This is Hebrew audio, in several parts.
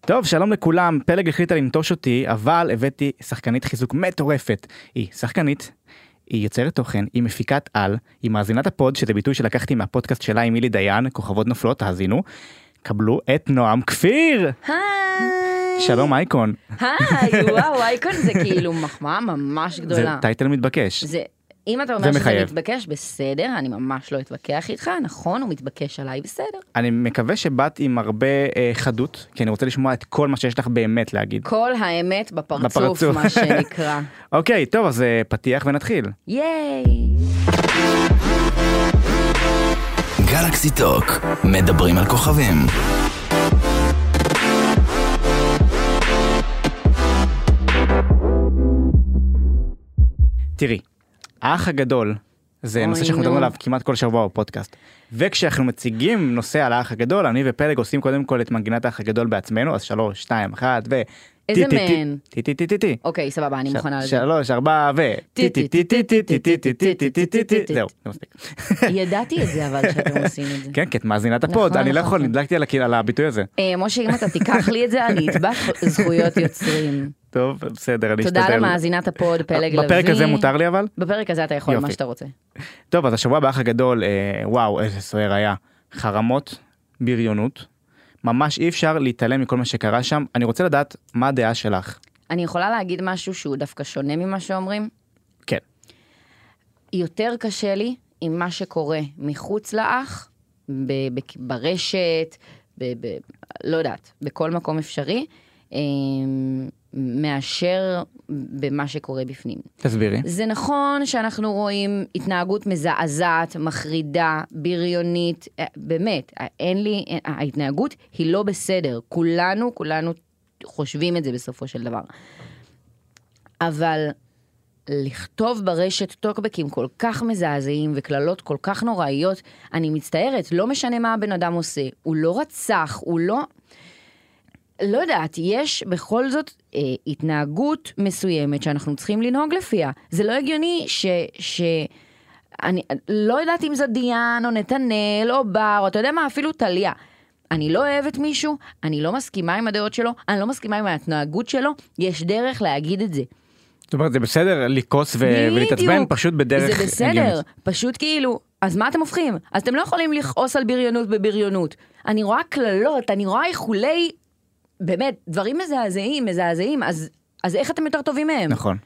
טוב, שלום לכולם, פלג החליטה לנטוש אותי, אבל הבאתי שחקנית חיזוק מטורפת. היא שחקנית, היא יוצרת תוכן, היא מפיקת על, היא מאזינת הפוד, שזה ביטוי שלקחתי מהפודקאסט שלה עם מילי דיין, כוכבות נופלות, תאזינו. קבלו את נועם כפיר! היי. שלום אייקון. היי, וואו, אייקון זה כאילו מחמאה ממש זה גדולה. טייטל מתבקש. זה, אם אתה זה אומר שזה מחייב. מתבקש, בסדר, אני ממש לא אתווכח איתך, נכון, הוא מתבקש עליי, בסדר. אני מקווה שבאת עם הרבה אה, חדות, כי אני רוצה לשמוע את כל מה שיש לך באמת להגיד. כל האמת בפרצוף, בפרצוף. מה שנקרא. אוקיי, טוב, אז אה, פתיח ונתחיל. ייי. גלקסי טוק, מדברים על כוכבים. תראי, האח הגדול זה אוי, נושא שאנחנו מדברים נו. עליו כמעט כל שבוע בפודקאסט. וכשאנחנו מציגים נושא על האח הגדול, אני ופלג עושים קודם כל את מנגינת האח הגדול בעצמנו, אז שלוש, שתיים, אחת, ו... איזה טי, טי, טי, מהן? טי טי טי טי טי. אוקיי, סבבה, אני ש- מוכנה לזה. שלוש, ארבע, ו... טי טי טי טי טי טי טי טי טי טי טי טי טי זהו, זה מספיק. ידעתי את זה, אבל שאתם עושים את זה. כן, כי את מאזינת הפוד, נכון, אני לא נכון, יכול, נכון. נדלקתי על הכ- על הביטוי הזה. אה, משה, אם אתה תיקח לי את זה, אני אתבע זכויות יוצרים. טוב, בסדר, אני אשתדל. תודה למאזינת הפוד, פלג לביא. בפרק הזה מותר לי אבל? בפרק הזה אתה יכול, יופי. מה שאתה רוצה. טוב, אז השבוע באח הגדול, אה, וואו, איזה סוער היה. חרמות, בריונות. ממש אי אפשר להתעלם מכל מה שקרה שם. אני רוצה לדעת מה הדעה שלך. אני יכולה להגיד משהו שהוא דווקא שונה ממה שאומרים? כן. יותר קשה לי עם מה שקורה מחוץ לאח, ב- ב- ברשת, ב- ב- לא יודעת, בכל מקום אפשרי, אה, מאשר במה שקורה בפנים. תסבירי. זה נכון שאנחנו רואים התנהגות מזעזעת, מחרידה, בריונית, אה, באמת, אה, אין לי, אין- ההתנהגות היא לא בסדר. כולנו, כולנו חושבים את זה בסופו של דבר. אבל לכתוב ברשת טוקבקים כל כך מזעזעים וקללות כל כך נוראיות, אני מצטערת, לא משנה מה הבן אדם עושה, הוא לא רצח, הוא לא... לא יודעת, יש בכל זאת אה, התנהגות מסוימת שאנחנו צריכים לנהוג לפיה. זה לא הגיוני ש... ש... אני לא יודעת אם זה דיאן או נתנאל או בר, או אתה יודע מה, אפילו טליה. אני לא אוהבת מישהו, אני לא מסכימה עם הדעות שלו, אני לא מסכימה עם ההתנהגות שלו, יש דרך להגיד את זה. זאת אומרת, זה בסדר לכעוס ו- ולהתעצבן בדיוק. פשוט בדרך זה בסדר, הגיונית. פשוט כאילו, אז מה אתם הופכים? אז אתם לא יכולים לכעוס על בריונות בבריונות. אני רואה קללות, אני רואה איחולי, באמת, דברים מזעזעים, מזעזעים, אז, אז איך אתם יותר טובים מהם? נכון.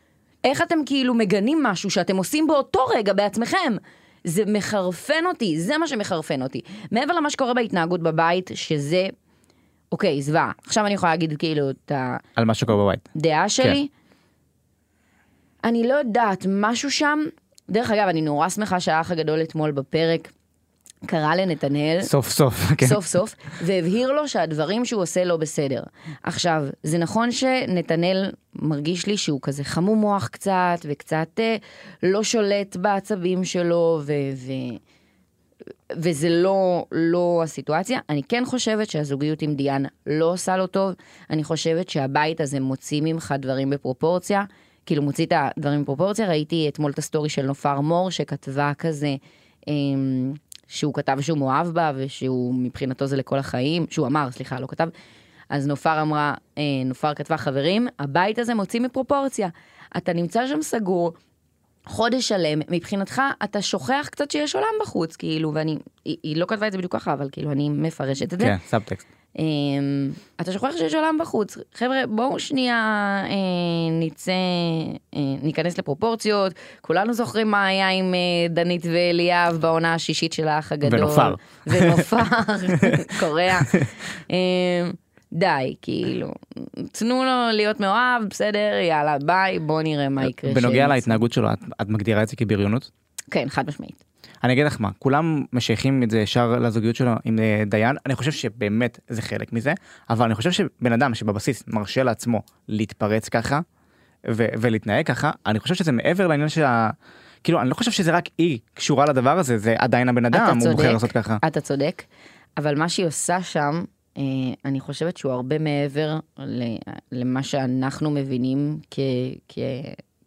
איך אתם כאילו מגנים משהו שאתם עושים באותו רגע בעצמכם? זה מחרפן אותי, זה מה שמחרפן אותי. מעבר למה שקורה בהתנהגות בבית, שזה, אוקיי, זוועה. עכשיו אני יכולה להגיד כאילו את ה... על מה שקורה בבית. דעה שלי. כן. אני לא יודעת, משהו שם, דרך אגב, אני נורא שמחה שהאח הגדול אתמול בפרק קרא לנתנאל, סוף סוף. כן. אה. סוף סוף, והבהיר לו שהדברים שהוא עושה לא בסדר. עכשיו, זה נכון שנתנאל מרגיש לי שהוא כזה חמום מוח קצת, וקצת אה, לא שולט בעצבים שלו, ו... ו... וזה לא, לא הסיטואציה. אני כן חושבת שהזוגיות עם דיאן לא עושה לו טוב. אני חושבת שהבית הזה מוציא ממך דברים בפרופורציה. כאילו מוציא את הדברים בפרופורציה. ראיתי אתמול את הסטורי של נופר מור שכתבה כזה, אמ, שהוא כתב שהוא מאוהב בה ושהוא מבחינתו זה לכל החיים, שהוא אמר, סליחה, לא כתב. אז נופר אמרה, אה, נופר כתבה, חברים, הבית הזה מוציא מפרופורציה. אתה נמצא שם סגור, חודש שלם, מבחינתך אתה שוכח קצת שיש עולם בחוץ, כאילו, ואני, היא, היא לא כתבה את זה בדיוק ככה, אבל כאילו, אני מפרשת את זה. כן, סאבטקסט. אמ, אתה שוכח שיש עולם בחוץ. חבר'ה, בואו שנייה אה, נצא, אה, ניכנס לפרופורציות. כולנו זוכרים מה היה עם אה, דנית ואליאב בעונה השישית של האח הגדול. ונופר. ונופר, קורע. אמ, די, כאילו, תנו לו להיות מאוהב, בסדר, יאללה, ביי, בוא נראה מה יקרה. בנוגע שהם- להתנהגות שלו, את- את מגדירה את זה כבריונות? כן, חד משמעית. אני אגיד לך מה, כולם משייכים את זה ישר לזוגיות שלו עם אה, דיין, אני חושב שבאמת זה חלק מזה, אבל אני חושב שבן אדם שבבסיס מרשה לעצמו להתפרץ ככה, ו- ולהתנהג ככה, אני חושב שזה מעבר לעניין של ה... כאילו, אני לא חושב שזה רק היא קשורה לדבר הזה, זה עדיין הבן אדם, הוא בוחר לעשות ככה. אתה צודק, אבל מה שהיא עושה שם, אה, אני חושבת שהוא הרבה מעבר ל- למה שאנחנו מבינים כ... כ...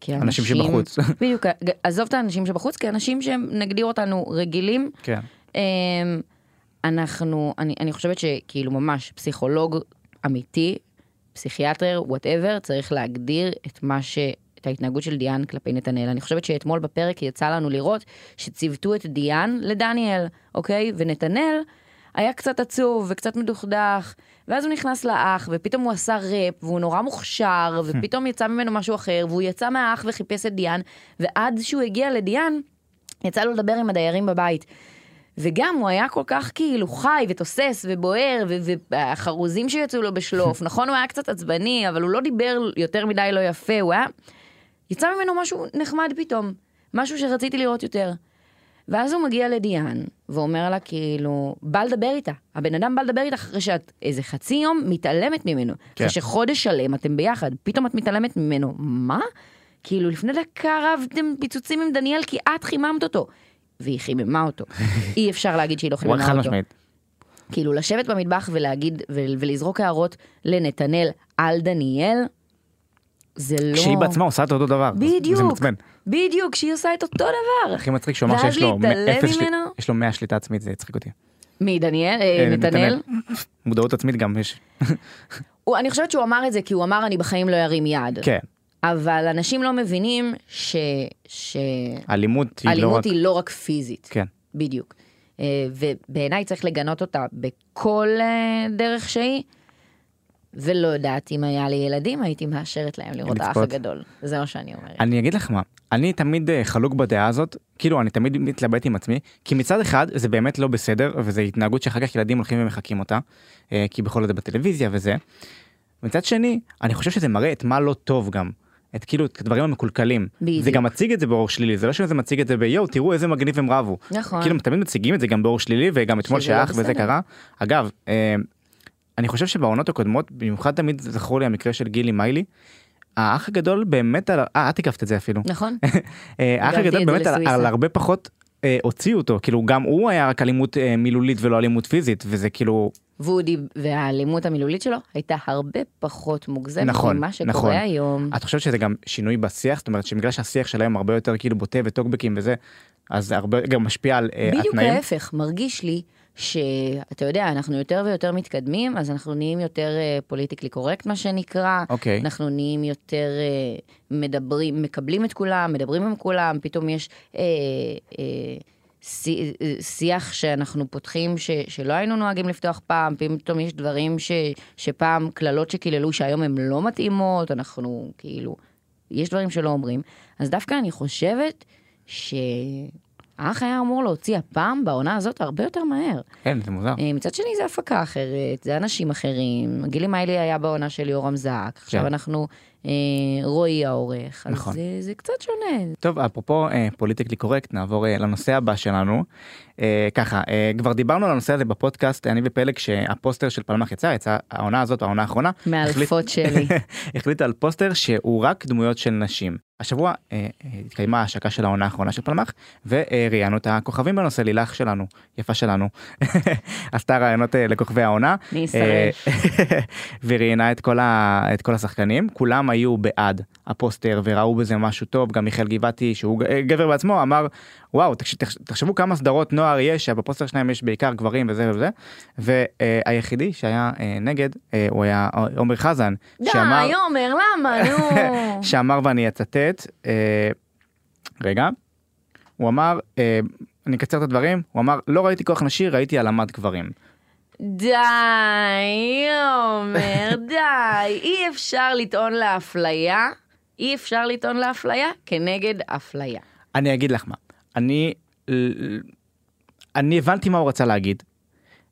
כאנשים, אנשים שבחוץ. בדיוק, עזוב את האנשים שבחוץ, כי אנשים שהם, נגדיר אותנו, רגילים, כן. אמ, אנחנו, אני, אני חושבת שכאילו ממש פסיכולוג אמיתי, פסיכיאטר, וואטאבר, צריך להגדיר את מה ש... את ההתנהגות של דיאן כלפי נתנאל. אני חושבת שאתמול בפרק יצא לנו לראות שציוותו את דיאן לדניאל, אוקיי? ונתנאל היה קצת עצוב וקצת מדוכדך, ואז הוא נכנס לאח, ופתאום הוא עשה ראפ, והוא נורא מוכשר, ופתאום יצא ממנו משהו אחר, והוא יצא מהאח וחיפש את דיאן, ועד שהוא הגיע לדיאן, יצא לו לדבר עם הדיירים בבית. וגם הוא היה כל כך כאילו חי ותוסס ובוער ו- והחרוזים שיצאו לו בשלוף נכון הוא היה קצת עצבני אבל הוא לא דיבר יותר מדי לא יפה הוא היה יצא ממנו משהו נחמד פתאום משהו שרציתי לראות יותר. ואז הוא מגיע לדיאן ואומר לה כאילו בא לדבר איתה הבן אדם בא לדבר איתך אחרי שאת איזה חצי יום מתעלמת ממנו כן. אחרי שחודש שלם אתם ביחד פתאום את מתעלמת ממנו מה כאילו לפני דקה רבתם פיצוצים עם דניאל כי את חיממת אותו. והיא חיממה אותו. אי אפשר להגיד שהיא לא הוא חיממה חד אותו. משמעית. כאילו לשבת במטבח ולהגיד ו- ולזרוק הערות לנתנאל על דניאל, זה לא... כשהיא בעצמה עושה את אותו דבר. אז זה בדיוק, מעצבן. בדיוק, שהיא עושה את אותו דבר. הכי מצחיק שהוא אמר ואז שיש לו להתעלם אפס שלי- ממנו? יש לו 100 שליטה עצמית זה הצחיק אותי. מי, דניאל? אה, אה, נתנאל? מודעות עצמית גם יש. הוא- אני חושבת שהוא אמר את זה כי הוא אמר אני בחיים לא ארים יד. כן. אבל אנשים לא מבינים ש... שאלימות אלימות היא לא רק. היא לא רק פיזית. כן. בדיוק. אה, ובעיניי צריך לגנות אותה בכל אה, דרך שהיא. ולא יודעת אם היה לי ילדים, הייתי מאשרת להם לראות את האח לצפות. הגדול. זה מה שאני אומרת. אני אגיד לך מה, אני תמיד אה, חלוק בדעה הזאת, כאילו אני תמיד מתלבט עם עצמי, כי מצד אחד זה באמת לא בסדר, וזו התנהגות שאחר כך ילדים הולכים ומחקים אותה, אה, כי בכל זאת זה בטלוויזיה וזה. מצד שני, אני חושב שזה מראה את מה לא טוב גם. את כאילו את הדברים המקולקלים. בדיוק. זה גם מציג את זה באור שלילי, זה לא שזה מציג את זה ביואו, תראו איזה מגניב הם רבו. נכון. כאילו הם תמיד מציגים את זה גם באור שלילי וגם אתמול שזה לא שייך וזה בסדר. קרה. אגב, אה, אני חושב שבעונות הקודמות במיוחד תמיד זכור לי המקרה של גילי מיילי. האח הגדול באמת על... אה, את הגבת את זה אפילו. נכון? אה, האח הגבתי את הגדול זה באמת על, לסוויסה. על הרבה פחות אה, הוציאו אותו. כאילו גם הוא היה רק אלימות אה, מילולית ולא אלימות פיזית וזה כאילו והוא דיב- והאלימות המילולית שלו הייתה הרבה פחות מוגזמת נכון, ממה שקורה נכון. היום. את חושבת שזה גם שינוי בשיח? זאת אומרת שבגלל שהשיח שלהם הרבה יותר כאילו בוטה וטוקבקים וזה, אז זה הרבה גם משפיע על אה, בדיוק התנאים. ההפך, מרגיש לי שאתה יודע, אנחנו יותר ויותר מתקדמים, אז אנחנו נהיים יותר אה, פוליטיקלי קורקט, מה שנקרא. אוקיי. אנחנו נהיים יותר אה, מדברים, מקבלים את כולם, מדברים עם כולם, פתאום יש אה, אה, שי- אה, שיח שאנחנו פותחים ש, שלא היינו נוהגים לפתוח פעם, פתאום יש דברים ש, שפעם קללות שקיללו שהיום הן לא מתאימות, אנחנו כאילו, יש דברים שלא אומרים. אז דווקא אני חושבת שהאח היה אמור להוציא הפעם בעונה הזאת הרבה יותר מהר. כן, זה מוזר. אה, מצד שני זה הפקה אחרת, זה אנשים אחרים. גילי מיילי היה בעונה של יורם זעק, עכשיו כן. אנחנו אה, רועי העורך, אז נכון. זה- זה קצת שונה. טוב, אפרופו אה, פוליטיקלי קורקט, נעבור אה, לנושא הבא שלנו. אה, ככה, אה, כבר דיברנו על הנושא הזה בפודקאסט, אני ופלג, שהפוסטר של פלמח יצא, יצא העונה הזאת, העונה האחרונה. מאלפות שלי. החליט על פוסטר שהוא רק דמויות של נשים. השבוע אה, אה, התקיימה ההשקה של העונה האחרונה של פלמח, וראיינו את הכוכבים בנושא, לילך שלנו, יפה שלנו, עשתה ראיונות אה, לכוכבי העונה. אני אסרב. אה, וראיינה את כל, ה... את כל השחקנים, כולם היו בעד הפוסטר וראו בזה משהו טוב, גם מיכאל גבעתי שהוא ג- אה, גבר בעצמו אמר וואו תקש... תחש- תחשבו כמה סדרות נוער יש שבפוסטר שלהם יש בעיקר גברים וזה וזה, והיחידי שהיה אה, נגד אה, הוא היה עומר חזן, די, עומר, למה, נו? שאמר ואני אצטט, אה, רגע, הוא אמר, אה, אני אקצר את הדברים, הוא אמר לא ראיתי כוח נשי ראיתי העלמת גברים. די, עומר, די. אי אפשר לטעון לאפליה, אי אפשר לטעון לאפליה כנגד אפליה. אני אגיד לך מה, אני, אני הבנתי מה הוא רצה להגיד,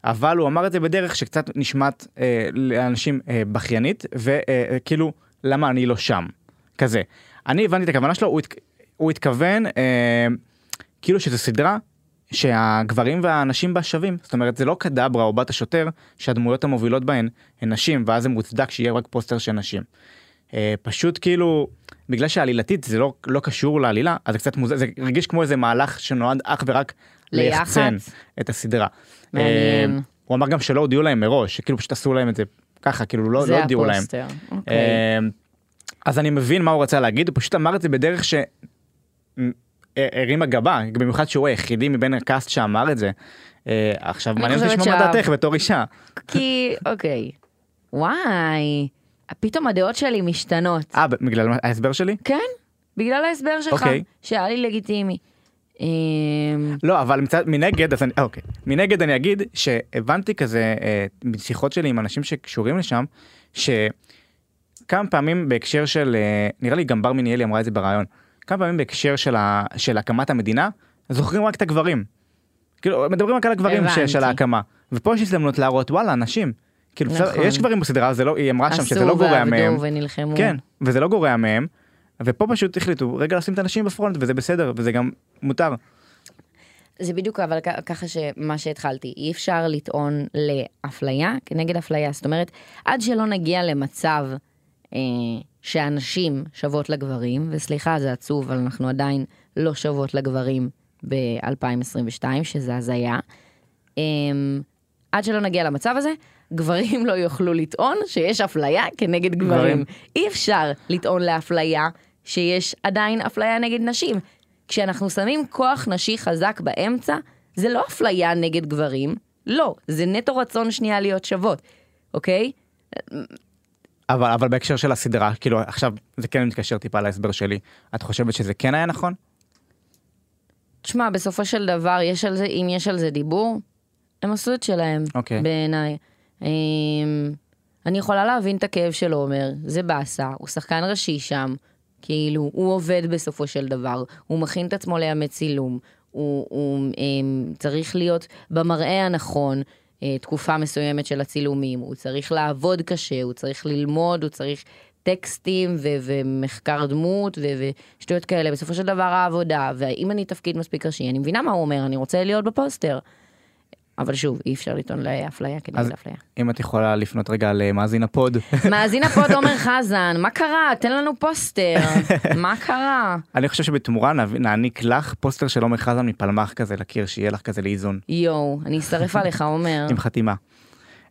אבל הוא אמר את זה בדרך שקצת נשמעת אה, לאנשים אה, בכיינית, וכאילו, למה אני לא שם? כזה. אני הבנתי את הכוונה שלו, הוא, התק... הוא התכוון אה, כאילו שזו סדרה. שהגברים והנשים בה שווים, זאת אומרת זה לא קדברה או בת השוטר שהדמויות המובילות בהן הן נשים ואז זה מוצדק שיהיה רק פוסטר של נשים. אה, פשוט כאילו בגלל שעלילתית זה לא, לא קשור לעלילה אז זה קצת מוזר זה רגיש כמו איזה מהלך שנועד אך ורק ליח"צ. ליחצן את הסדרה. מעניין. אה, הוא אמר גם שלא הודיעו להם מראש שכאילו פשוט עשו להם את זה ככה כאילו לא, לא הודיעו להם. זה הפוסטר, אוקיי. אה, אז אני מבין מה הוא רצה להגיד הוא פשוט אמר את זה בדרך ש... מ- ה- הרימה גבה במיוחד שהוא היחידי מבין הקאסט שאמר את זה. אה, עכשיו מעניין אותי חושבת לשמוע מה שה- דעתך בתור אישה. כי, אוקיי. וואי, פתאום הדעות שלי משתנות. אה, בגלל מה- ההסבר שלי? כן, בגלל ההסבר שלך, אוקיי. שהיה לי לגיטימי. אמ, לא, אבל מצד, מנגד, אז אני, אה, אוקיי. מנגד אני אגיד שהבנתי כזה, אה, משיחות שלי עם אנשים שקשורים לשם, שכמה פעמים בהקשר של, אה, נראה לי גם בר מניאלי אמרה את זה בריאיון, כמה פעמים בהקשר של, ה, של הקמת המדינה, זוכרים רק את הגברים. כאילו, מדברים רק על הגברים ש, הבנתי. של ההקמה. ופה יש הזדמנות להראות, וואלה, נשים. כאילו, נכון. נכון. יש גברים בסדרה, זה לא, היא אמרה שם שזה עשו לא גורע מהם. ועבדו ונלחמו. כן, וזה לא גורע מהם, ופה פשוט החליטו רגע לשים את הנשים בפרונט, וזה בסדר, וזה גם מותר. זה בדיוק אבל כ- ככה שמה שהתחלתי, אי אפשר לטעון לאפליה כנגד אפליה. זאת אומרת, עד שלא נגיע למצב אה, שהנשים שוות לגברים, וסליחה, זה עצוב, אבל אנחנו עדיין לא שוות לגברים ב-2022, שזה הזיה. אה, עד שלא נגיע למצב הזה, גברים לא יוכלו לטעון שיש אפליה כנגד גברים. גברים. אי אפשר לטעון לאפליה שיש עדיין אפליה נגד נשים. כשאנחנו שמים כוח נשי חזק באמצע, זה לא אפליה נגד גברים, לא, זה נטו רצון שנייה להיות שוות, אוקיי? אבל, אבל בהקשר של הסדרה, כאילו עכשיו זה כן מתקשר טיפה להסבר שלי, את חושבת שזה כן היה נכון? תשמע, בסופו של דבר, יש על זה, אם יש על זה דיבור, הם עשו את שלהם, אוקיי. בעיניי. אמ, אני יכולה להבין את הכאב של עומר, זה באסה, הוא שחקן ראשי שם, כאילו, הוא עובד בסופו של דבר, הוא מכין את עצמו לימי צילום, הוא, הוא אמ, צריך להיות במראה הנכון. אה, תקופה מסוימת של הצילומים, הוא צריך לעבוד קשה, הוא צריך ללמוד, הוא צריך טקסטים ו- ומחקר דמות ו- ושטויות כאלה, בסופו של דבר העבודה, והאם אני תפקיד מספיק ראשי, אני מבינה מה הוא אומר, אני רוצה להיות בפוסטר. אבל שוב, אי אפשר לטעון לאפליה אז- כנגד אפליה. אם את יכולה לפנות רגע למאזין הפוד, מאזין הפוד עומר חזן, מה קרה? תן לנו פוסטר, מה קרה? אני חושב שבתמורה נב- נעניק לך פוסטר של עומר חזן מפלמח כזה לקיר, שיהיה לך כזה לאיזון, יואו, אני אצטרף עליך עומר. עם חתימה.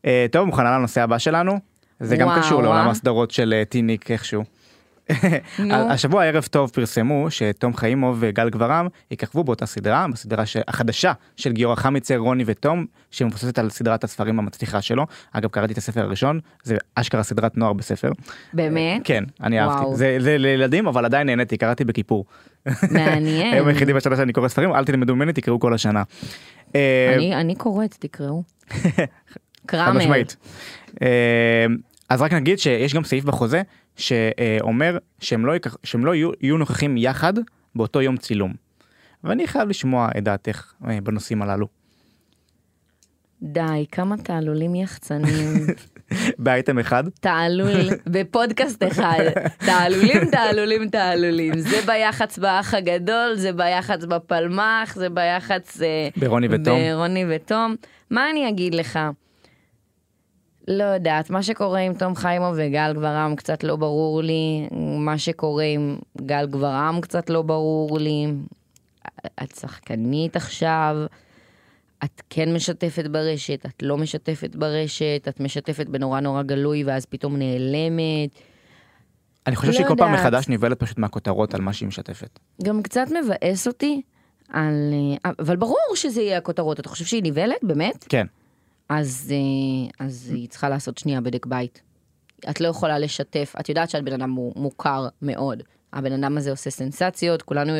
אה, טוב, מוכנה לנושא הבא שלנו? זה גם וואו, קשור לעולם אה? הסדרות של אה, טיניק איכשהו. נו. השבוע ערב טוב פרסמו שתום חיימוב וגל גברם יככבו באותה סדרה, בסדרה ש- החדשה של גיורא חמיצר, רוני ותום, שמבוססת על סדרת הספרים המצליחה שלו. אגב, קראתי את הספר הראשון, זה אשכרה סדרת נוער בספר. באמת? כן, אני אהבתי. וואו. זה, זה לילדים, אבל עדיין נהניתי, קראתי בכיפור. מעניין. היום היחידי בשנה שאני קורא ספרים, אל תלמדו ממני, תקראו כל השנה. אה, אני- אני קוראת, תקראו. חד קראמר. משמעית. אה, אז רק נגיד שיש גם סעיף בחוזה שאומר שהם לא, ייקח, שהם לא יהיו, יהיו נוכחים יחד באותו יום צילום. ואני חייב לשמוע את דעתך אה, בנושאים הללו. די, כמה תעלולים יחצנים. באייטם אחד, תעלול, בפודקאסט אחד, תעלולים, תעלולים, תעלולים. זה ביח"צ באח הגדול, זה ביח"צ בפלמ"ח, זה ביח"צ... אה, ברוני ותום. ברוני ותום. מה אני אגיד לך? לא יודעת, מה שקורה עם תום חיימו וגל גברם קצת לא ברור לי, מה שקורה עם גל גברם קצת לא ברור לי. את שחקנית עכשיו, את כן משתפת ברשת, את לא משתפת ברשת, את משתפת בנורא נורא גלוי ואז פתאום נעלמת. אני חושב לא שהיא כל פעם יודעת. מחדש נבהלת פשוט מהכותרות על מה שהיא משתפת. גם קצת מבאס אותי, על... אה, אבל ברור שזה יהיה הכותרות, אתה חושב שהיא נבהלת? באמת? כן. אז, אה, אז היא צריכה לעשות שנייה בדק בית. את לא יכולה לשתף, את יודעת שאת בן אדם מו- מוכר מאוד. הבן אדם הזה עושה סנסציות, כולנו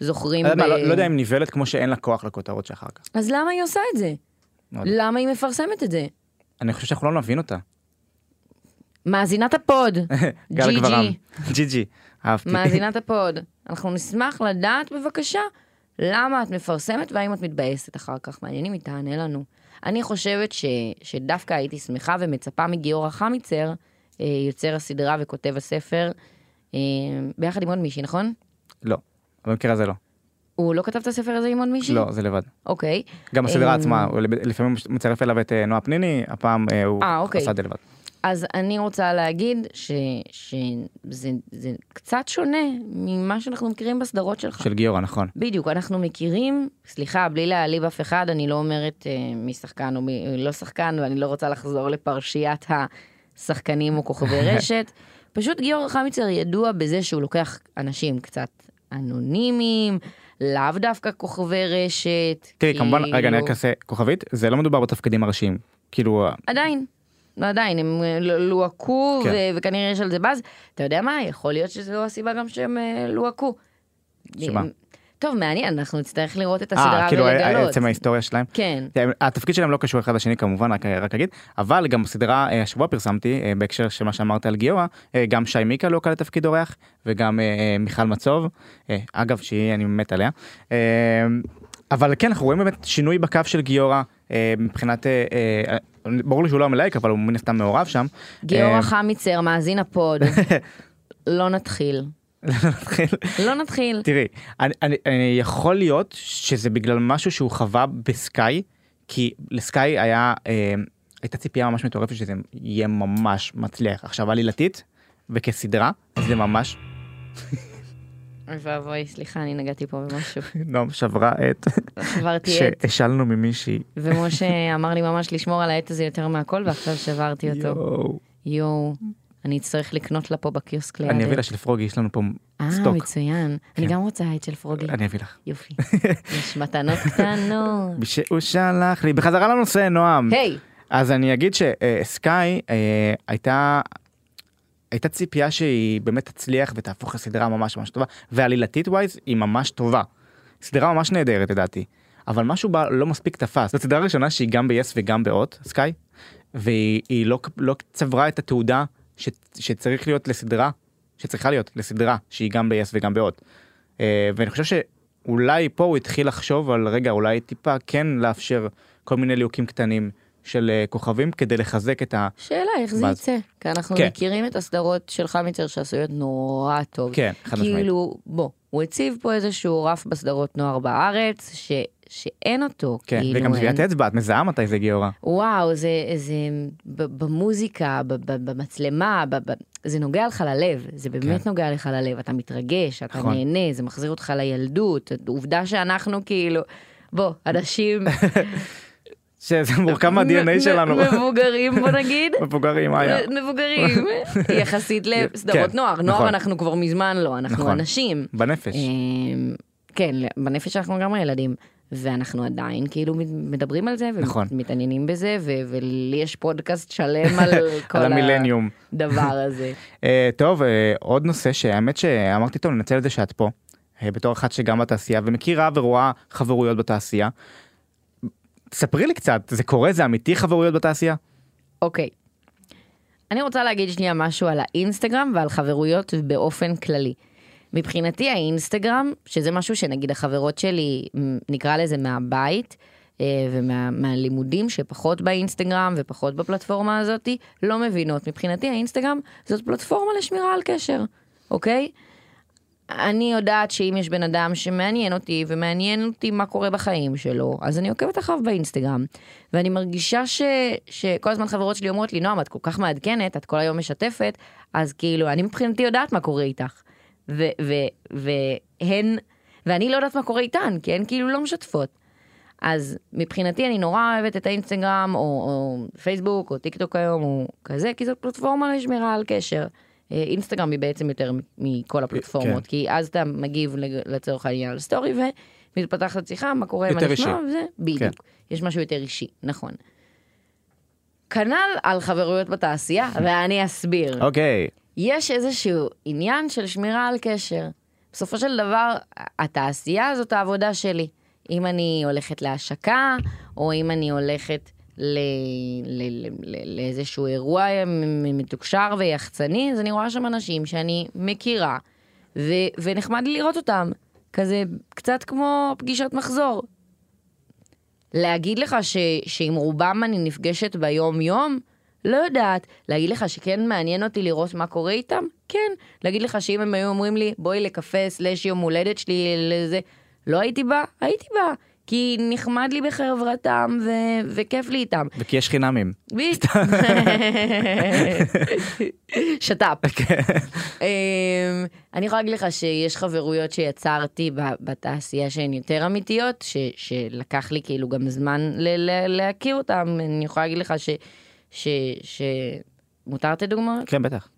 זוכרים... אני לא ב- לא יודע אם נבהלת כמו שאין לה כוח לכותרות שאחר כך. אז למה היא עושה את זה? לא יודע. למה היא מפרסמת את זה? אני חושב שאנחנו לא נבין אותה. מאזינת הפוד, גל ג'י גברם. ג'י, ג'י ג'י. אהבתי. מאזינת הפוד. אנחנו נשמח לדעת בבקשה למה את מפרסמת והאם את מתבאסת אחר כך. מעניין אם היא תענה לנו. אני חושבת ש, שדווקא הייתי שמחה ומצפה מגיורא חמיצר, אה, יוצר הסדרה וכותב הספר, אה, ביחד עם עוד מישהי, נכון? לא. במקרה הזה לא. הוא לא כתב את הספר הזה עם עוד מישהי? לא, זה לבד. אוקיי. גם הסדרה אה, עצמה, הוא לב- לפעמים הוא מצרף אליו את אה, נועה פניני, הפעם אה, הוא אה, אוקיי. עשה את זה לבד. אז אני רוצה להגיד ש, שזה זה קצת שונה ממה שאנחנו מכירים בסדרות שלך. של גיורא, נכון. בדיוק, אנחנו מכירים, סליחה, בלי להעליב אף אחד, אני לא אומרת אה, מי שחקן או מי לא שחקן, ואני לא רוצה לחזור לפרשיית השחקנים או כוכבי רשת. פשוט גיאורג חמיצר ידוע בזה שהוא לוקח אנשים קצת אנונימיים, לאו דווקא כוכבי רשת. תראי, כמובן, רגע, אני כאילו- רק אעשה כוכבית, זה לא מדובר בתפקידים הראשיים. כאילו, עדיין. עדיין, הם אה, ל- לוהקו, כן. ו- וכנראה יש על זה באז. אתה יודע מה, יכול להיות שזו הסיבה גם שהם אה, לוהקו. שמה? טוב, מעניין, אנחנו נצטרך לראות את הסדרה אה, כאילו ולגלות. עצם ההיסטוריה שלהם. כן. תראה, התפקיד שלהם לא קשור אחד לשני כמובן, רק, רק אגיד, אבל גם בסדרה אה, השבוע פרסמתי, אה, בהקשר של מה שאמרת על גיורא, אה, גם שי מיקה לא קל לתפקיד אורח, וגם אה, אה, מיכל מצוב, אה, אגב, שהיא, אני מת עליה. אה, אבל כן, אנחנו רואים באמת שינוי בקו של גיורא, אה, מבחינת, אה, אה, ברור לי שהוא לא המלהק, אבל הוא מן הסתם מעורב שם. גיורא חמיצר, מאזין הפוד. לא נתחיל. חמיצר. לא נתחיל. תראי, אני, אני, אני יכול להיות שזה בגלל משהו שהוא חווה בסקאי, כי לסקאי היה, אה, הייתה ציפייה ממש מטורפת שזה יהיה ממש מצליח. עכשיו עלילתית וכסדרה, זה ממש, אוי ואבוי, סליחה, אני נגעתי פה במשהו. נועם לא שברה את, שברתי עט. שהשלנו ממישהי. ומשה אמר לי ממש לשמור על העט הזה יותר מהכל, ועכשיו שברתי אותו. יואו. יואו, אני אצטרך לקנות לה פה בקיוסק ליד. אני אביא העט. לה של פרוגי, יש לנו פה אה, סטוק. מצוין. כן. אני גם רוצה העט של פרוגי. אני אביא לך. יופי. יש מתנות קטנות. שהוא שלח לי, בחזרה לנושא, נועם. היי, אז אני אגיד שסקאי אה, הייתה הייתה ציפייה שהיא באמת תצליח ותהפוך לסדרה ממש ממש טובה ועלילתית ווייז היא ממש טובה. סדרה ממש נהדרת לדעתי אבל משהו בה לא מספיק תפס זו סדרה ראשונה שהיא גם ביס וגם בהוט סקאי והיא היא לא, לא צברה את התעודה ש, שצריך להיות לסדרה שצריכה להיות לסדרה שהיא גם ביס וגם בהוט. אה, ואני חושב שאולי פה הוא התחיל לחשוב על רגע אולי טיפה כן לאפשר כל מיני ליהוקים קטנים של אה, כוכבים כדי לחזק את ה... שאלה, איך זה מה יצא? כי אנחנו כן. מכירים את הסדרות של חמיצר שעשויות נורא טוב. כן, חד משמעית. כאילו, בוא, הוא הציב פה איזשהו רף בסדרות נוער בארץ, ש... שאין אותו, כן, כאילו, וגם אין- טביעת אצבע, את מזהה מתי זה גיורא. וואו, זה, זה ב- במוזיקה, ב- ב- במצלמה, ב- ב- זה נוגע לך ללב, זה באמת נוגע לך ללב, אתה מתרגש, אתה כן. נכון. נהנה, זה מחזיר אותך לילדות, עובדה שאנחנו כאילו, בוא, אנשים שזה לא, מורכב מה-DNA מ- שלנו, מ- מבוגרים בוא נגיד, מבוגרים היה. לא, מבוגרים, יחסית לסדרות כן, נוער, נוער נכון. אנחנו כבר מזמן לא, אנחנו נכון. אנשים. בנפש. אמ, כן, בנפש אנחנו לגמרי ילדים. ואנחנו עדיין כאילו מדברים על זה, נכון. ומתעניינים בזה, ו- ולי יש פודקאסט שלם על כל על המילניום. הדבר הזה. אה, טוב, אה, עוד נושא שהאמת שאמרתי טוב, ננצל את זה שאת פה, אה, בתור אחת שגם בתעשייה ומכירה ורואה חברויות בתעשייה. ספרי לי קצת, זה קורה, זה אמיתי חברויות בתעשייה? אוקיי. אני רוצה להגיד שנייה משהו על האינסטגרם ועל חברויות באופן כללי. מבחינתי האינסטגרם, שזה משהו שנגיד החברות שלי, מ, נקרא לזה מהבית ומהלימודים שפחות באינסטגרם ופחות בפלטפורמה הזאת, לא מבינות. מבחינתי האינסטגרם זאת פלטפורמה לשמירה על קשר, אוקיי? אני יודעת שאם יש בן אדם שמעניין אותי, ומעניין אותי מה קורה בחיים שלו, אז אני עוקבת אחריו באינסטגרם. ואני מרגישה ש... שכל הזמן חברות שלי אומרות לי, נועם, את כל כך מעדכנת, את כל היום משתפת, אז כאילו, אני מבחינתי יודעת מה קורה איתך. ו... ו... והן... ואני לא יודעת מה קורה איתן, כי הן כאילו לא משתפות. אז מבחינתי אני נורא אוהבת את האינסטגרם, או, או פייסבוק, או טיק טוק היום, או כזה, כי זאת פלטפורמה לשמירה על קשר. אה, אינסטגרם היא בעצם יותר מ- מכל הפלטפורמות, כן. כי אז אתה מגיב לג- לצורך העניין על סטורי, ומתפתחת שיחה, מה קורה, מה יותר נשמע, אישי. כן. וזה, בדיוק. יש משהו יותר אישי, נכון. כנ"ל על חברויות בתעשייה, ואני אסביר. אוקיי. יש איזשהו עניין של שמירה על קשר. בסופו של דבר, התעשייה זאת העבודה שלי. אם אני הולכת להשקה, או אם אני הולכת ל- ל- ל- ל- לאיזשהו אירוע מ- מ- מתוקשר ויחצני, אז אני רואה שם אנשים שאני מכירה, ו- ונחמד לי לראות אותם. כזה קצת כמו פגישת מחזור. להגיד לך ש, שעם רובם אני נפגשת ביום-יום? לא יודעת. להגיד לך שכן מעניין אותי לראות מה קורה איתם? כן. להגיד לך שאם הם היו אומרים לי, בואי לקפה סלאש יום הולדת שלי לזה, לא הייתי באה? הייתי באה. כי נחמד לי בחברתם ו- וכיף לי איתם. וכי יש חינמים. בי- שת"פ. אמ, אני יכולה להגיד לך שיש חברויות שיצרתי ב- בתעשייה שהן יותר אמיתיות, ש- שלקח לי כאילו גם זמן ל- ל- להכיר אותן. אני יכולה להגיד לך ש... ש- ש- מותר לתת דוגמאות? כן, בטח.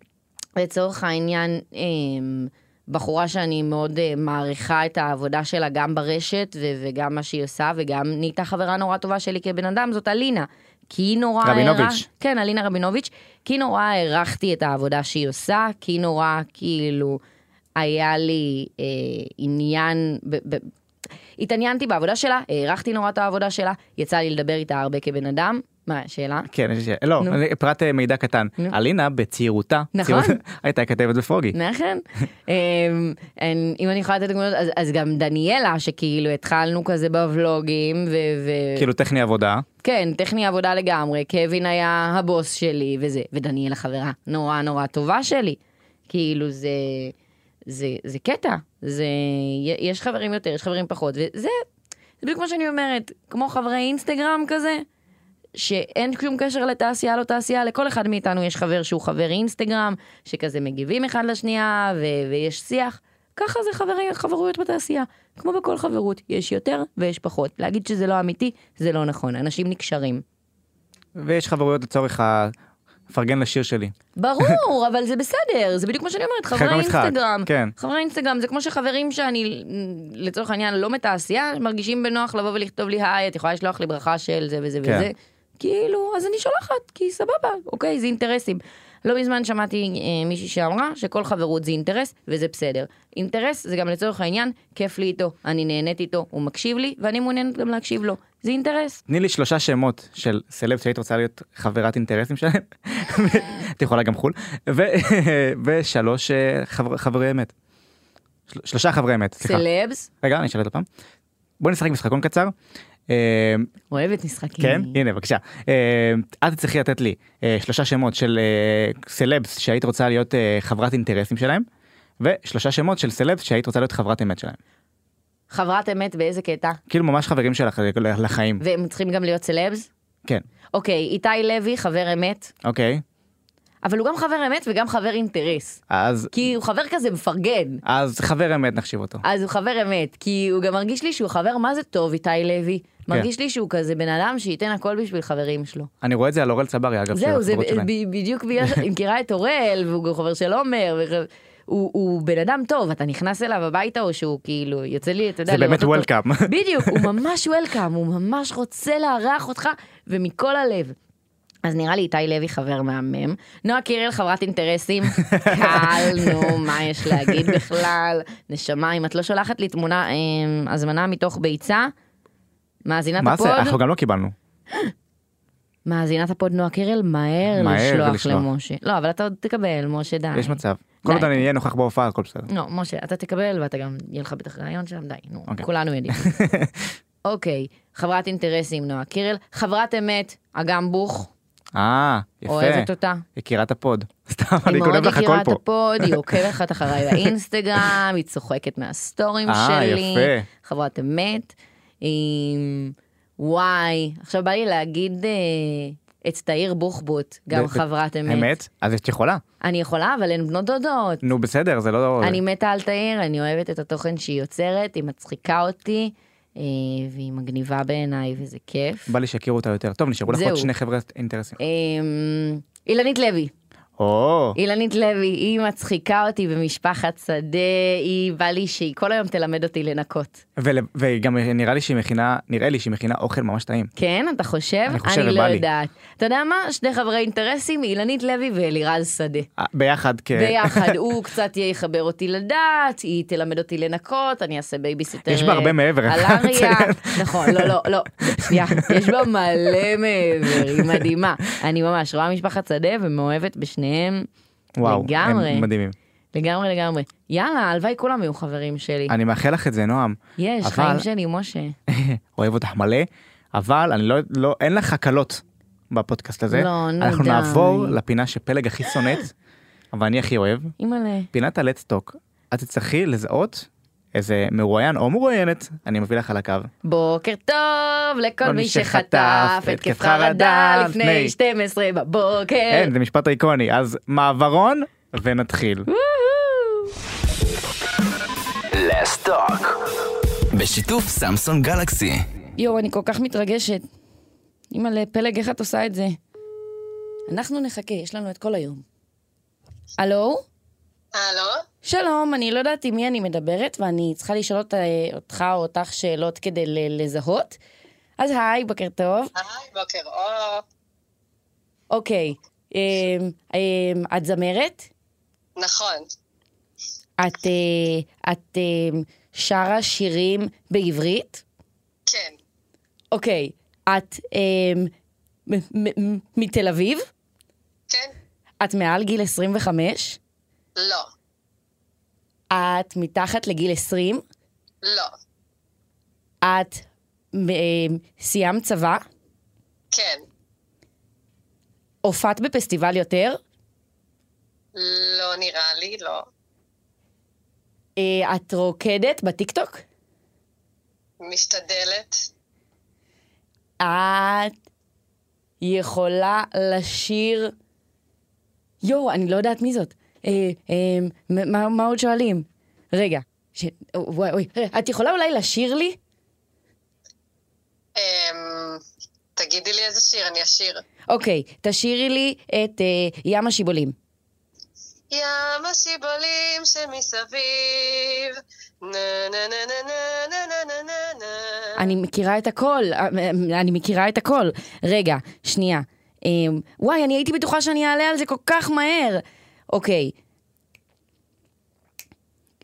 לצורך העניין, אמ, בחורה שאני מאוד אה, מעריכה את העבודה שלה גם ברשת ו- וגם מה שהיא עושה, וגם נהייתה חברה נורא טובה שלי כבן אדם, זאת אלינה. כי היא נורא... רבינוביץ'. הערך- כן, אלינה רבינוביץ', כי נורא הערכתי את העבודה שהיא עושה, כי נורא כאילו היה לי אה, עניין, ב, ב, התעניינתי בעבודה שלה, הערכתי נורא את העבודה שלה, יצא לי לדבר איתה הרבה כבן אדם. מה השאלה? כן, יש- לא, נו. אני- פרט אה, מידע קטן. נו. אלינה בצעירותה, נכון. צעירות- הייתה כתבת בפרוגי. נכון. אמ, אין- אם אני יכולה לתת דוגמאות, אז- אז גם דניאלה, שכאילו התחלנו כזה בוולוגים, ו... ו- כאילו טכני עבודה, כן, טכני עבודה לגמרי, קווין היה הבוס שלי וזה, ודניאלה חברה נורא נורא טובה שלי. כאילו זה, זה, זה קטע, זה, י- יש חברים יותר, יש חברים פחות, וזה, זה בדיוק כמו שאני אומרת, כמו חברי אינסטגרם כזה, שאין שום קשר לתעשייה לא תעשייה, לכל אחד מאיתנו יש חבר שהוא חבר אינסטגרם, שכזה מגיבים אחד לשנייה ו- ויש שיח. ככה זה חברים, חברויות בתעשייה. כמו בכל חברות, יש יותר ויש פחות. להגיד שזה לא אמיתי, זה לא נכון. אנשים נקשרים. ויש חברויות לצורך ה... פרגן לשיר שלי. ברור, אבל זה בסדר, זה בדיוק כמו שאני אומרת, חברי מהמשחק, אינסטגרם. כן. חברי אינסטגרם, זה כמו שחברים שאני, לצורך העניין, לא מתעשייה, מרגישים בנוח לבוא ולכתוב לי, היי, את יכולה לשלוח לי ברכה של זה וזה כן. וזה. כאילו, אז אני שולחת, כי סבבה, אוקיי, זה אינטרסים. לא מזמן שמעתי אה, מישהי שאמרה שכל חברות זה אינטרס, וזה בסדר. אינטרס זה גם לצורך העניין, כיף לי איתו, אני נהנית איתו, הוא מקשיב לי, ואני מעוניינת גם להקשיב לו. זה אינטרס. תני לי שלושה שמות של סלב שהיית רוצה להיות חברת אינטרסים שלהם, את יכולה גם חו"ל, ו- ושלוש אה, חבר- חברי אמת. של- שלושה חברי אמת, סליחה. סלבס, רגע, אני אשאל עוד פעם. בוא נשחק משחקון קצר. אה, אוהבת משחקים. כן, הנה בבקשה. אה, את תצטרכי לתת לי אה, שלושה שמות של אה, סלבס שהיית רוצה להיות אה, חברת אינטרסים שלהם, ושלושה שמות של סלבס שהיית רוצה להיות חברת אמת שלהם. חברת אמת באיזה קטע? כאילו ממש חברים שלך אה, לחיים. והם צריכים גם להיות סלבס? כן, אוקיי, איתי לוי חבר אמת, אוקיי. אבל הוא גם חבר אמת וגם חבר אינטרס. אז כי הוא חבר כזה מפרגן, אז חבר אמת נחשיב אותו. אז הוא חבר אמת, כי הוא גם מרגיש לי שהוא חבר מה זה טוב, איתי לוי. מרגיש לי שהוא כזה בן אדם שייתן הכל בשביל חברים שלו. אני רואה את זה על אורל צברי אגב. של זהו, זה החברות שלהם. ב- בדיוק בגלל שאני מכירה את אוראל, והוא גם חבר של עומר, וח- הוא- הוא בן אדם טוב, אתה נכנס אליו הביתה או שהוא כאילו, יוצא לי, אתה יודע, זה לראות באמת אותו. welcome. בדיוק, הוא ממש וולקאם, הוא ממש רוצה לארח אותך, ומכל הלב. אז נראה לי איתי לוי חבר מהמם, נועה קירל חברת אינטרסים, קל, נו, מה יש להגיד בכלל? נשמה, אם את לא שולחת לי תמונה, אה, הזמנה מתוך ביצה, מאזינת מה זה? אנחנו הפוד, גם לא קיבלנו. מאזינת הפוד נועה קירל, מהר מהר לשלוח ולשלוח. למשה. לא, אבל אתה עוד תקבל, משה, די. יש מצב. כל עוד אה, די. אני אהיה נוכח בהופעה הכל בסדר. לא, משה, אתה תקבל ואתה גם, יהיה לך בטח רעיון שם, די, נו, אוקיי. כולנו יודעים. אוקיי, חברת אינטרסים, נועה קירל. חברת אמת, אגם בוך, אה, אוהבת יפה. אותה. יקירת הפוד. סתם, אני היא גונב מאוד לך הכל הכירה את פה. הפוד, היא עוקבת לך אחריי באינסטגרם, היא צוחקת מהסטורים אה, שלי. יפה. חברת אמת. עם- וואי, עכשיו בא לי להגיד אה, את תאיר בוחבוט, גם ב- ב- חברת אמת. אמת? אז את יכולה. אני יכולה, אבל הן בנות דודות. נו בסדר, זה לא... אני מתה על תאיר, אני אוהבת את התוכן שהיא יוצרת, היא מצחיקה אותי, אה, והיא מגניבה בעיניי, וזה כיף. בא לי שיכירו אותה יותר. טוב, נשארו לך זהו. עוד שני חבר'ה אינטרסים. אמ, אילנית לוי, או, אילנית לוי, היא מצחיקה אותי במשפחת שדה, היא בא לי שהיא כל היום תלמד אותי לנקות. ול- וגם נראה לי שהיא מכינה, נראה לי שהיא מכינה אוכל ממש טעים. כן, אתה חושב? אני חושב, אני לא ובא לי. יודעת. אתה יודע מה? שני חברי אינטרסים, אילנית לוי ואלירז שדה. אה, ביחד כ... ביחד, הוא קצת יחבר אותי לדת, היא תלמד אותי לנקות, אני אעשה בייביסיטר. יש בה הרבה מעבר, על אני חייב אריה. לציין. נכון, לא, לא, לא, שנייה, יש בה מלא מעבר, היא מדהימה. אני ממש רואה משפחת שדה ומאוהבת בשניהם וואו, לגמרי. הם מדהימים. לגמרי לגמרי. יאללה, הלוואי כולם יהיו חברים שלי. אני מאחל לך את זה, נועם. יש, אבל- חיים שלי, משה. אוהב אותך מלא, אבל אני לא, לא, אין לך הקלות בפודקאסט הזה. לא, נו, אנחנו די. נעבור לפינה שפלג הכי שונאת, אבל אני הכי אוהב. אימא'לה. פינת הלטסטוק. את תצטרכי לזהות איזה מרואיין או מרואיינת, אני מביא לך על הקו. אה. בוקר טוב לכל מי שחטף התקף חרדה חרדה לפני לפני. 12 בבוקר. אין, זה משפט איקוני, אז מעברון ונתחיל. בשיתוף סמסון גלקסי. יואו, אני כל כך מתרגשת. אימא'לה, פלג, איך את עושה את זה? אנחנו נחכה, יש לנו את כל היום. הלו? הלו? שלום, אני לא יודעת עם מי אני מדברת, ואני צריכה לשאול אותה, אותך או אותך שאלות כדי ל- לזהות. אז היי, בוקר טוב. היי, בוקר אור. אוקיי, אמ, אמ, את זמרת? נכון. את, אה, את אה, שרה שירים בעברית? כן. אוקיי, את אה, מ- מ- מ- מתל אביב? כן? את מעל גיל 25? לא. את מתחת לגיל 20? לא. את אה, סיימת צבא? כן. הופעת בפסטיבל יותר? לא נראה לי, לא. אה, את רוקדת בטיקטוק? משתדלת. את יכולה לשיר... יואו, אני לא יודעת מי זאת. אה, אה, מ- מה, מה עוד שואלים? רגע, ש... וואי, וואי, את יכולה אולי לשיר לי? אמ... תגידי לי איזה שיר, אני אשיר. אוקיי, תשאירי לי את אה, ים השיבולים. ים השיבולים שמסביב. נה נה נה נה נה נה נה נה נה נה. אני מכירה את הכל, אה, אה, אני מכירה את הכל. רגע, שנייה. אה, וואי, אני הייתי בטוחה שאני אעלה על זה כל כך מהר. אוקיי.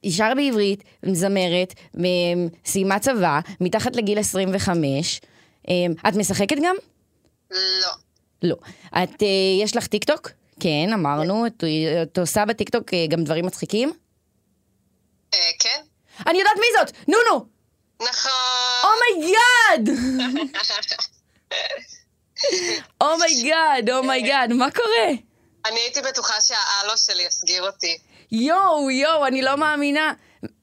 אישר בעברית, זמרת, מ- סיימה צבא, מתחת לגיל 25. אה, את משחקת גם? לא. לא. את, אה, יש לך טיקטוק? כן, אמרנו. את, את עושה בטיקטוק אה, גם דברים מצחיקים? אה, כן? אני יודעת מי זאת! נו נו! Oh נכון. אומייגאד! Oh אומייגאד, אומייגאד, מה קורה? אני הייתי בטוחה שההלו שלי יסגיר אותי. יואו, יואו, אני לא מאמינה.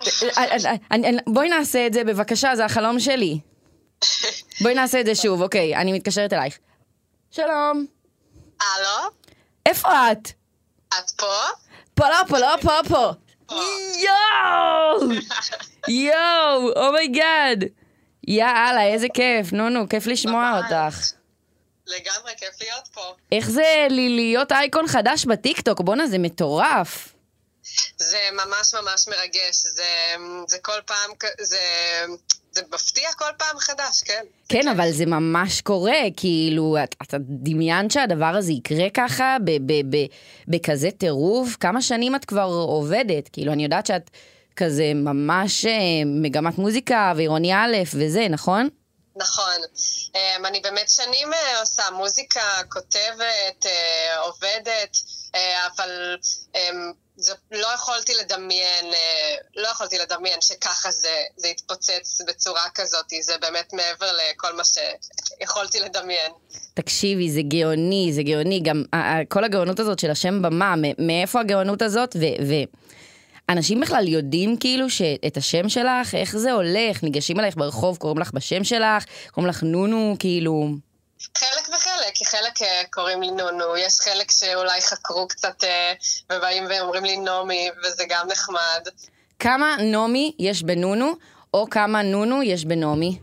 אני- אני- בואי נעשה את זה בבקשה, זה החלום שלי. בואי נעשה את זה שוב, אוקיי, אני מתקשרת אלייך. שלום, הלו? איפה את? את פה? פה לא, פה לא, פה פה. יואו! יואו, אומייגאד. יאללה, איזה כיף, נו נו, כיף לשמוע ממש. אותך. לגמרי, כיף להיות פה. איך זה לי- להיות אייקון חדש בטיקטוק? בואנה, זה מטורף. זה ממש ממש מרגש. זה, זה כל פעם, כ- זה, זה מפתיע כל פעם חדש, כן. כן, אבל זה ממש קורה, כאילו, את- אתה דמיינת שהדבר הזה יקרה ככה, ב- ב- ב- בכזה טירוף? כמה שנים את כבר עובדת? כאילו, אני יודעת שאת כזה ממש אה, מגמת מוזיקה ועירוני א' וזה, נכון? נכון. אמ, אני באמת שנים אה, עושה מוזיקה, כותבת, אה, עובדת, אה, אבל אמ, זה, לא יכולתי לדמיין, אה, לא יכולתי לדמיין שככה זה, זה יתפוצץ בצורה כזאת, זה באמת מעבר לכל מה שיכולתי לדמיין. תקשיבי, זה גאוני, זה גאוני, גם ה- ה- כל הגאונות הזאת של השם במה, מ- מאיפה הגאונות הזאת? ו- ו... אנשים בכלל יודעים כאילו ש- את השם שלך, איך זה הולך, ניגשים אלייך ברחוב, קוראים לך בשם שלך, קוראים לך נונו, כאילו... חלק וחלק, כי חלק אה, קוראים לי נונו, יש חלק שאולי חקרו קצת אה, ובאים ואומרים לי נעמי, וזה גם נחמד. כמה נעמי יש בנונו, או כמה נונו יש בנעמי.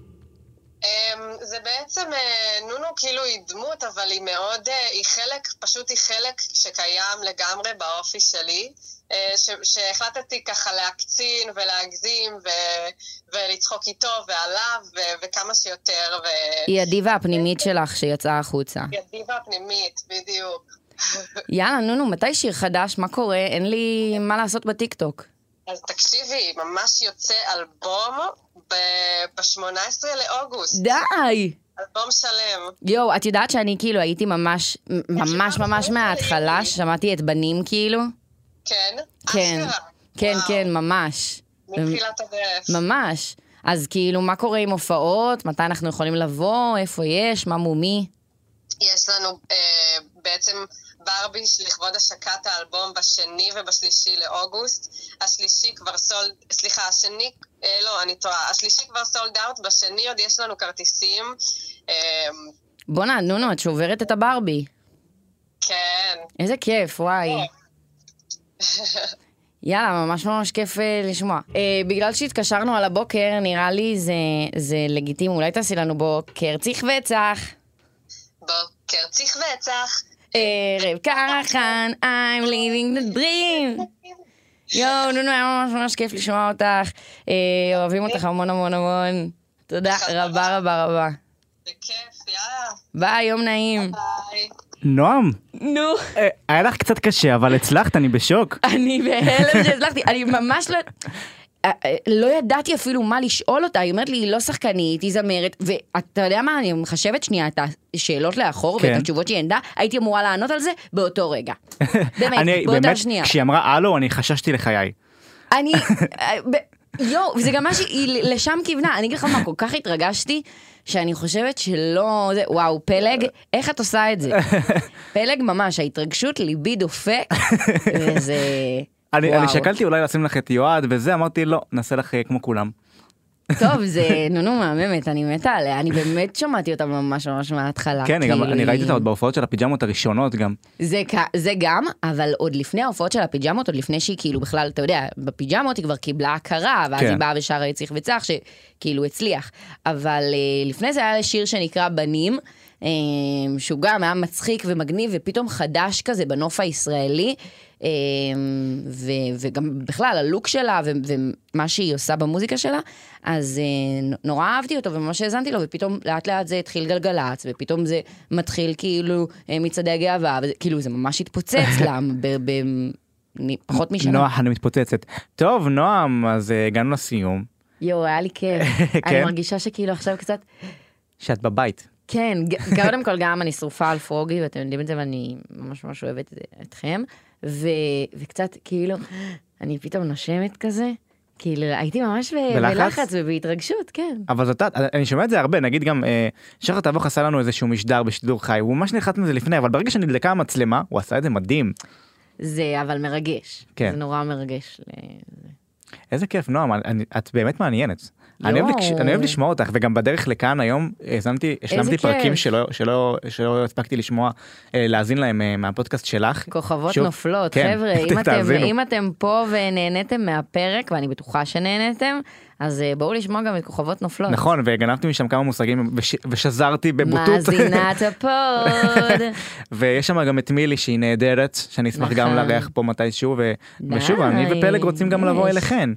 אמ, זה בעצם, אה, נונו כאילו היא דמות, אבל היא מאוד, אה, היא חלק, פשוט היא חלק שקיים לגמרי באופי שלי, אה, ש- שהחלטתי ככה להקצין ולהגזים ו- ולצחוק איתו ועליו ו- וכמה שיותר, היא הדיבה הפנימית שלך שיצאה החוצה. וידיבה הפנימית, בדיוק. יאללה, נונו, מתי שיר חדש? מה קורה? אין לי מה לעשות בטיקטוק. אז תקשיבי, ממש יוצא אלבום ב-18 לאוגוסט, די! אלבום שלם. יואו, את יודעת שאני כאילו הייתי ממש, ממש ממש מההתחלה, שמעתי את בנים כאילו? כן? כן. אשכרה. כן, וואו, כן, ממש. מתחילת הדרך. ממש. אז כאילו, מה קורה עם הופעות? מתי אנחנו יכולים לבוא? איפה יש? מה מומי? יש לנו אה, בעצם ברבי לכבוד השקת האלבום בשני ובשלישי לאוגוסט. השלישי כבר סולד, סליחה, השני, אה, לא, אני טועה, השלישי כבר סולד אאוט, בשני עוד יש לנו כרטיסים. אה, בואנה, נונו, את שוברת את הברבי. כן, איזה כיף, וואי. יאללה, ממש ממש כיף אה, לשמוע. אה, בגלל שהתקשרנו על הבוקר, נראה לי זה, זה לגיטימי, אולי תעשי לנו בוקר ציך וצח. בוקר צריך ועצח. ערב קרחן, I'm living the dream. יואו, נו, נו, היה ממש ממש כיף לשמוע אותך. אה, אוהבים אותך המון המון המון. תודה רבה רבה רבה. זה כיף, יאללה, ביי, יום נעים. ביי. נועם, נו, אה, היה לך קצת קשה, אבל הצלחת, אני בשוק. אני בהלם שהצלחתי, אני ממש לא... אה, אה, לא ידעתי אפילו מה לשאול אותה, היא אומרת לי, היא לא שחקנית, היא זמרת, ואתה יודע מה, אני מחשבת שנייה את השאלות לאחור כן. ואת התשובות שהיא ענדה, הייתי אמורה לענות על זה באותו רגע. אני- באמת, באותה שנייה. כשהיא אמרה הלו, אני חששתי לחיי. אני, אה, ב- יואו, זה גם מה שהיא לשם כיוונה, אני אגיד לך מה, כל כך התרגשתי, שאני חושבת שלא, זה, וואו, פלג, איך את עושה את זה? פלג ממש, ההתרגשות, ליבי דופק, וזה, אני, וואו. אני שקלתי אולי לשים לך את יועד וזה, אמרתי לא, נעשה לך אה, כמו כולם. טוב, זה נונו מהממת, אני מתה עליה, אני באמת שמעתי אותה ממש ממש מההתחלה. כן, אני גם, כאילו, אני ראיתי היא- אותה עוד בהופעות של הפיג'מות הראשונות גם. זה, כ- זה גם, אבל עוד לפני ההופעות של הפיג'מות, עוד לפני שהיא כאילו בכלל, אתה יודע, בפיג'מות היא כבר קיבלה הכרה, ואז כן. כן. היא באה ושרה את צריך וצח, שכאילו הצליח. אבל אה, לפני זה היה שיר שנקרא בנים, אה, שהוא גם היה מצחיק ומגניב, ופתאום חדש כזה בנוף הישראלי, אה, ו, וגם בכלל הלוק שלה, ו, ומה שהיא עושה במוזיקה שלה, אז אה, נ- נורא אהבתי אותו, וממש האזנתי לו, ופתאום לאט לאט זה התחיל גלגלצ, ופתאום זה מתחיל כאילו אה, מצעדי הגאווה, וזה- כאילו זה ממש התפוצץ לה, ב- ב- נ- פחות משנה. נוח, אני מתפוצצת. טוב, נועם, אז אה, הגענו לסיום. יואו, היה לי כיף. כן? אני מרגישה שכאילו עכשיו קצת, שאת בבית. כן, ג- קודם כל גם אני שרופה על פרוגי, ואתם יודעים את זה, ואני ממש ממש אוהבת את- אתכם, ו- וקצת כאילו, אני פתאום נושמת כזה, כאילו הייתי ממש ב- בלחץ? בלחץ ובהתרגשות, כן. אבל זאת את, אני שומע את זה הרבה, נגיד גם אה, שחר טבוך עשה לנו איזשהו משדר בשידור חי, הוא ממש נלחץ מזה לפני, אבל ברגע שנדלקה המצלמה, הוא עשה את זה מדהים. זה אבל מרגש, כן. זה נורא מרגש. ל- איזה כיף, נועם, אני, את באמת מעניינת. אני אוהב, יואו. לקש, אני אוהב לשמוע אותך, וגם בדרך לכאן היום האזנתי, השלמתי כיף. פרקים שלא, שלא, שלא הספקתי לשמוע, אה, להאזין להם אה, מהפודקאסט שלך. כוכבות שוב, נופלות, כן, חבר'ה, אם אתם, תאזינו. אם אתם פה ונהניתם מהפרק, ואני בטוחה שנהניתם, אז אה, בואו לשמוע גם את כוכבות נופלות. נכון, וגנבתי משם כמה מושגים וש, ושזרתי בבוטות. מאזינת הפוד. ויש שם גם את מילי שהיא נהדרת, שאני אשמח נכון. גם לארח פה מתישהו, ו... די, ושוב, אני ופלג רוצים גם לבוא יש. אליכן.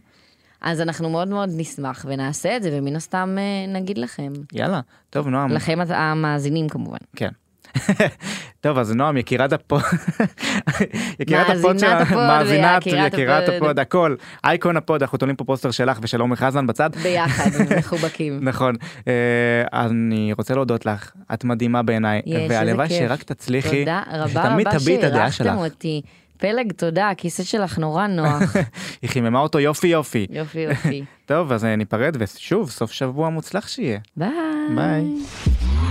אז אנחנו מאוד מאוד נשמח ונעשה את זה, ומן הסתם אה, נגיד לכם. יאללה, טוב נועם, לכם הת- המאזינים כמובן. כן. טוב אז נועם יקירת הפוד, יקירת הפוד מאזינת שלה, הפוד מאזינת, ויקירת יקירת הפוד. הפוד, הכל, אייקון הפוד, אנחנו תולים פה פוסטר שלך ושל עומר חזן בצד. ביחד, מחובקים. נכון, אה, אני רוצה להודות לך, את מדהימה בעיניי, יש, איזה והלוואי כיף. שרק תצליחי, תודה רבה שתמיד רבה תביעי את הדעה שלך. שאירחתם אותי. פלג, תודה, הכיסא שלך נורא נוח. היא חיממה אותו יופי יופי. יופי יופי. טוב, אז אה, ניפרד, ושוב, סוף שבוע מוצלח שיהיה. ביי. ביי.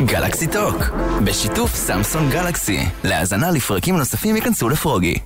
גלקסי טוק, בשיתוף סמסון גלקסי. להאזנה לפרקים נוספים ייכנסו לפרוגי.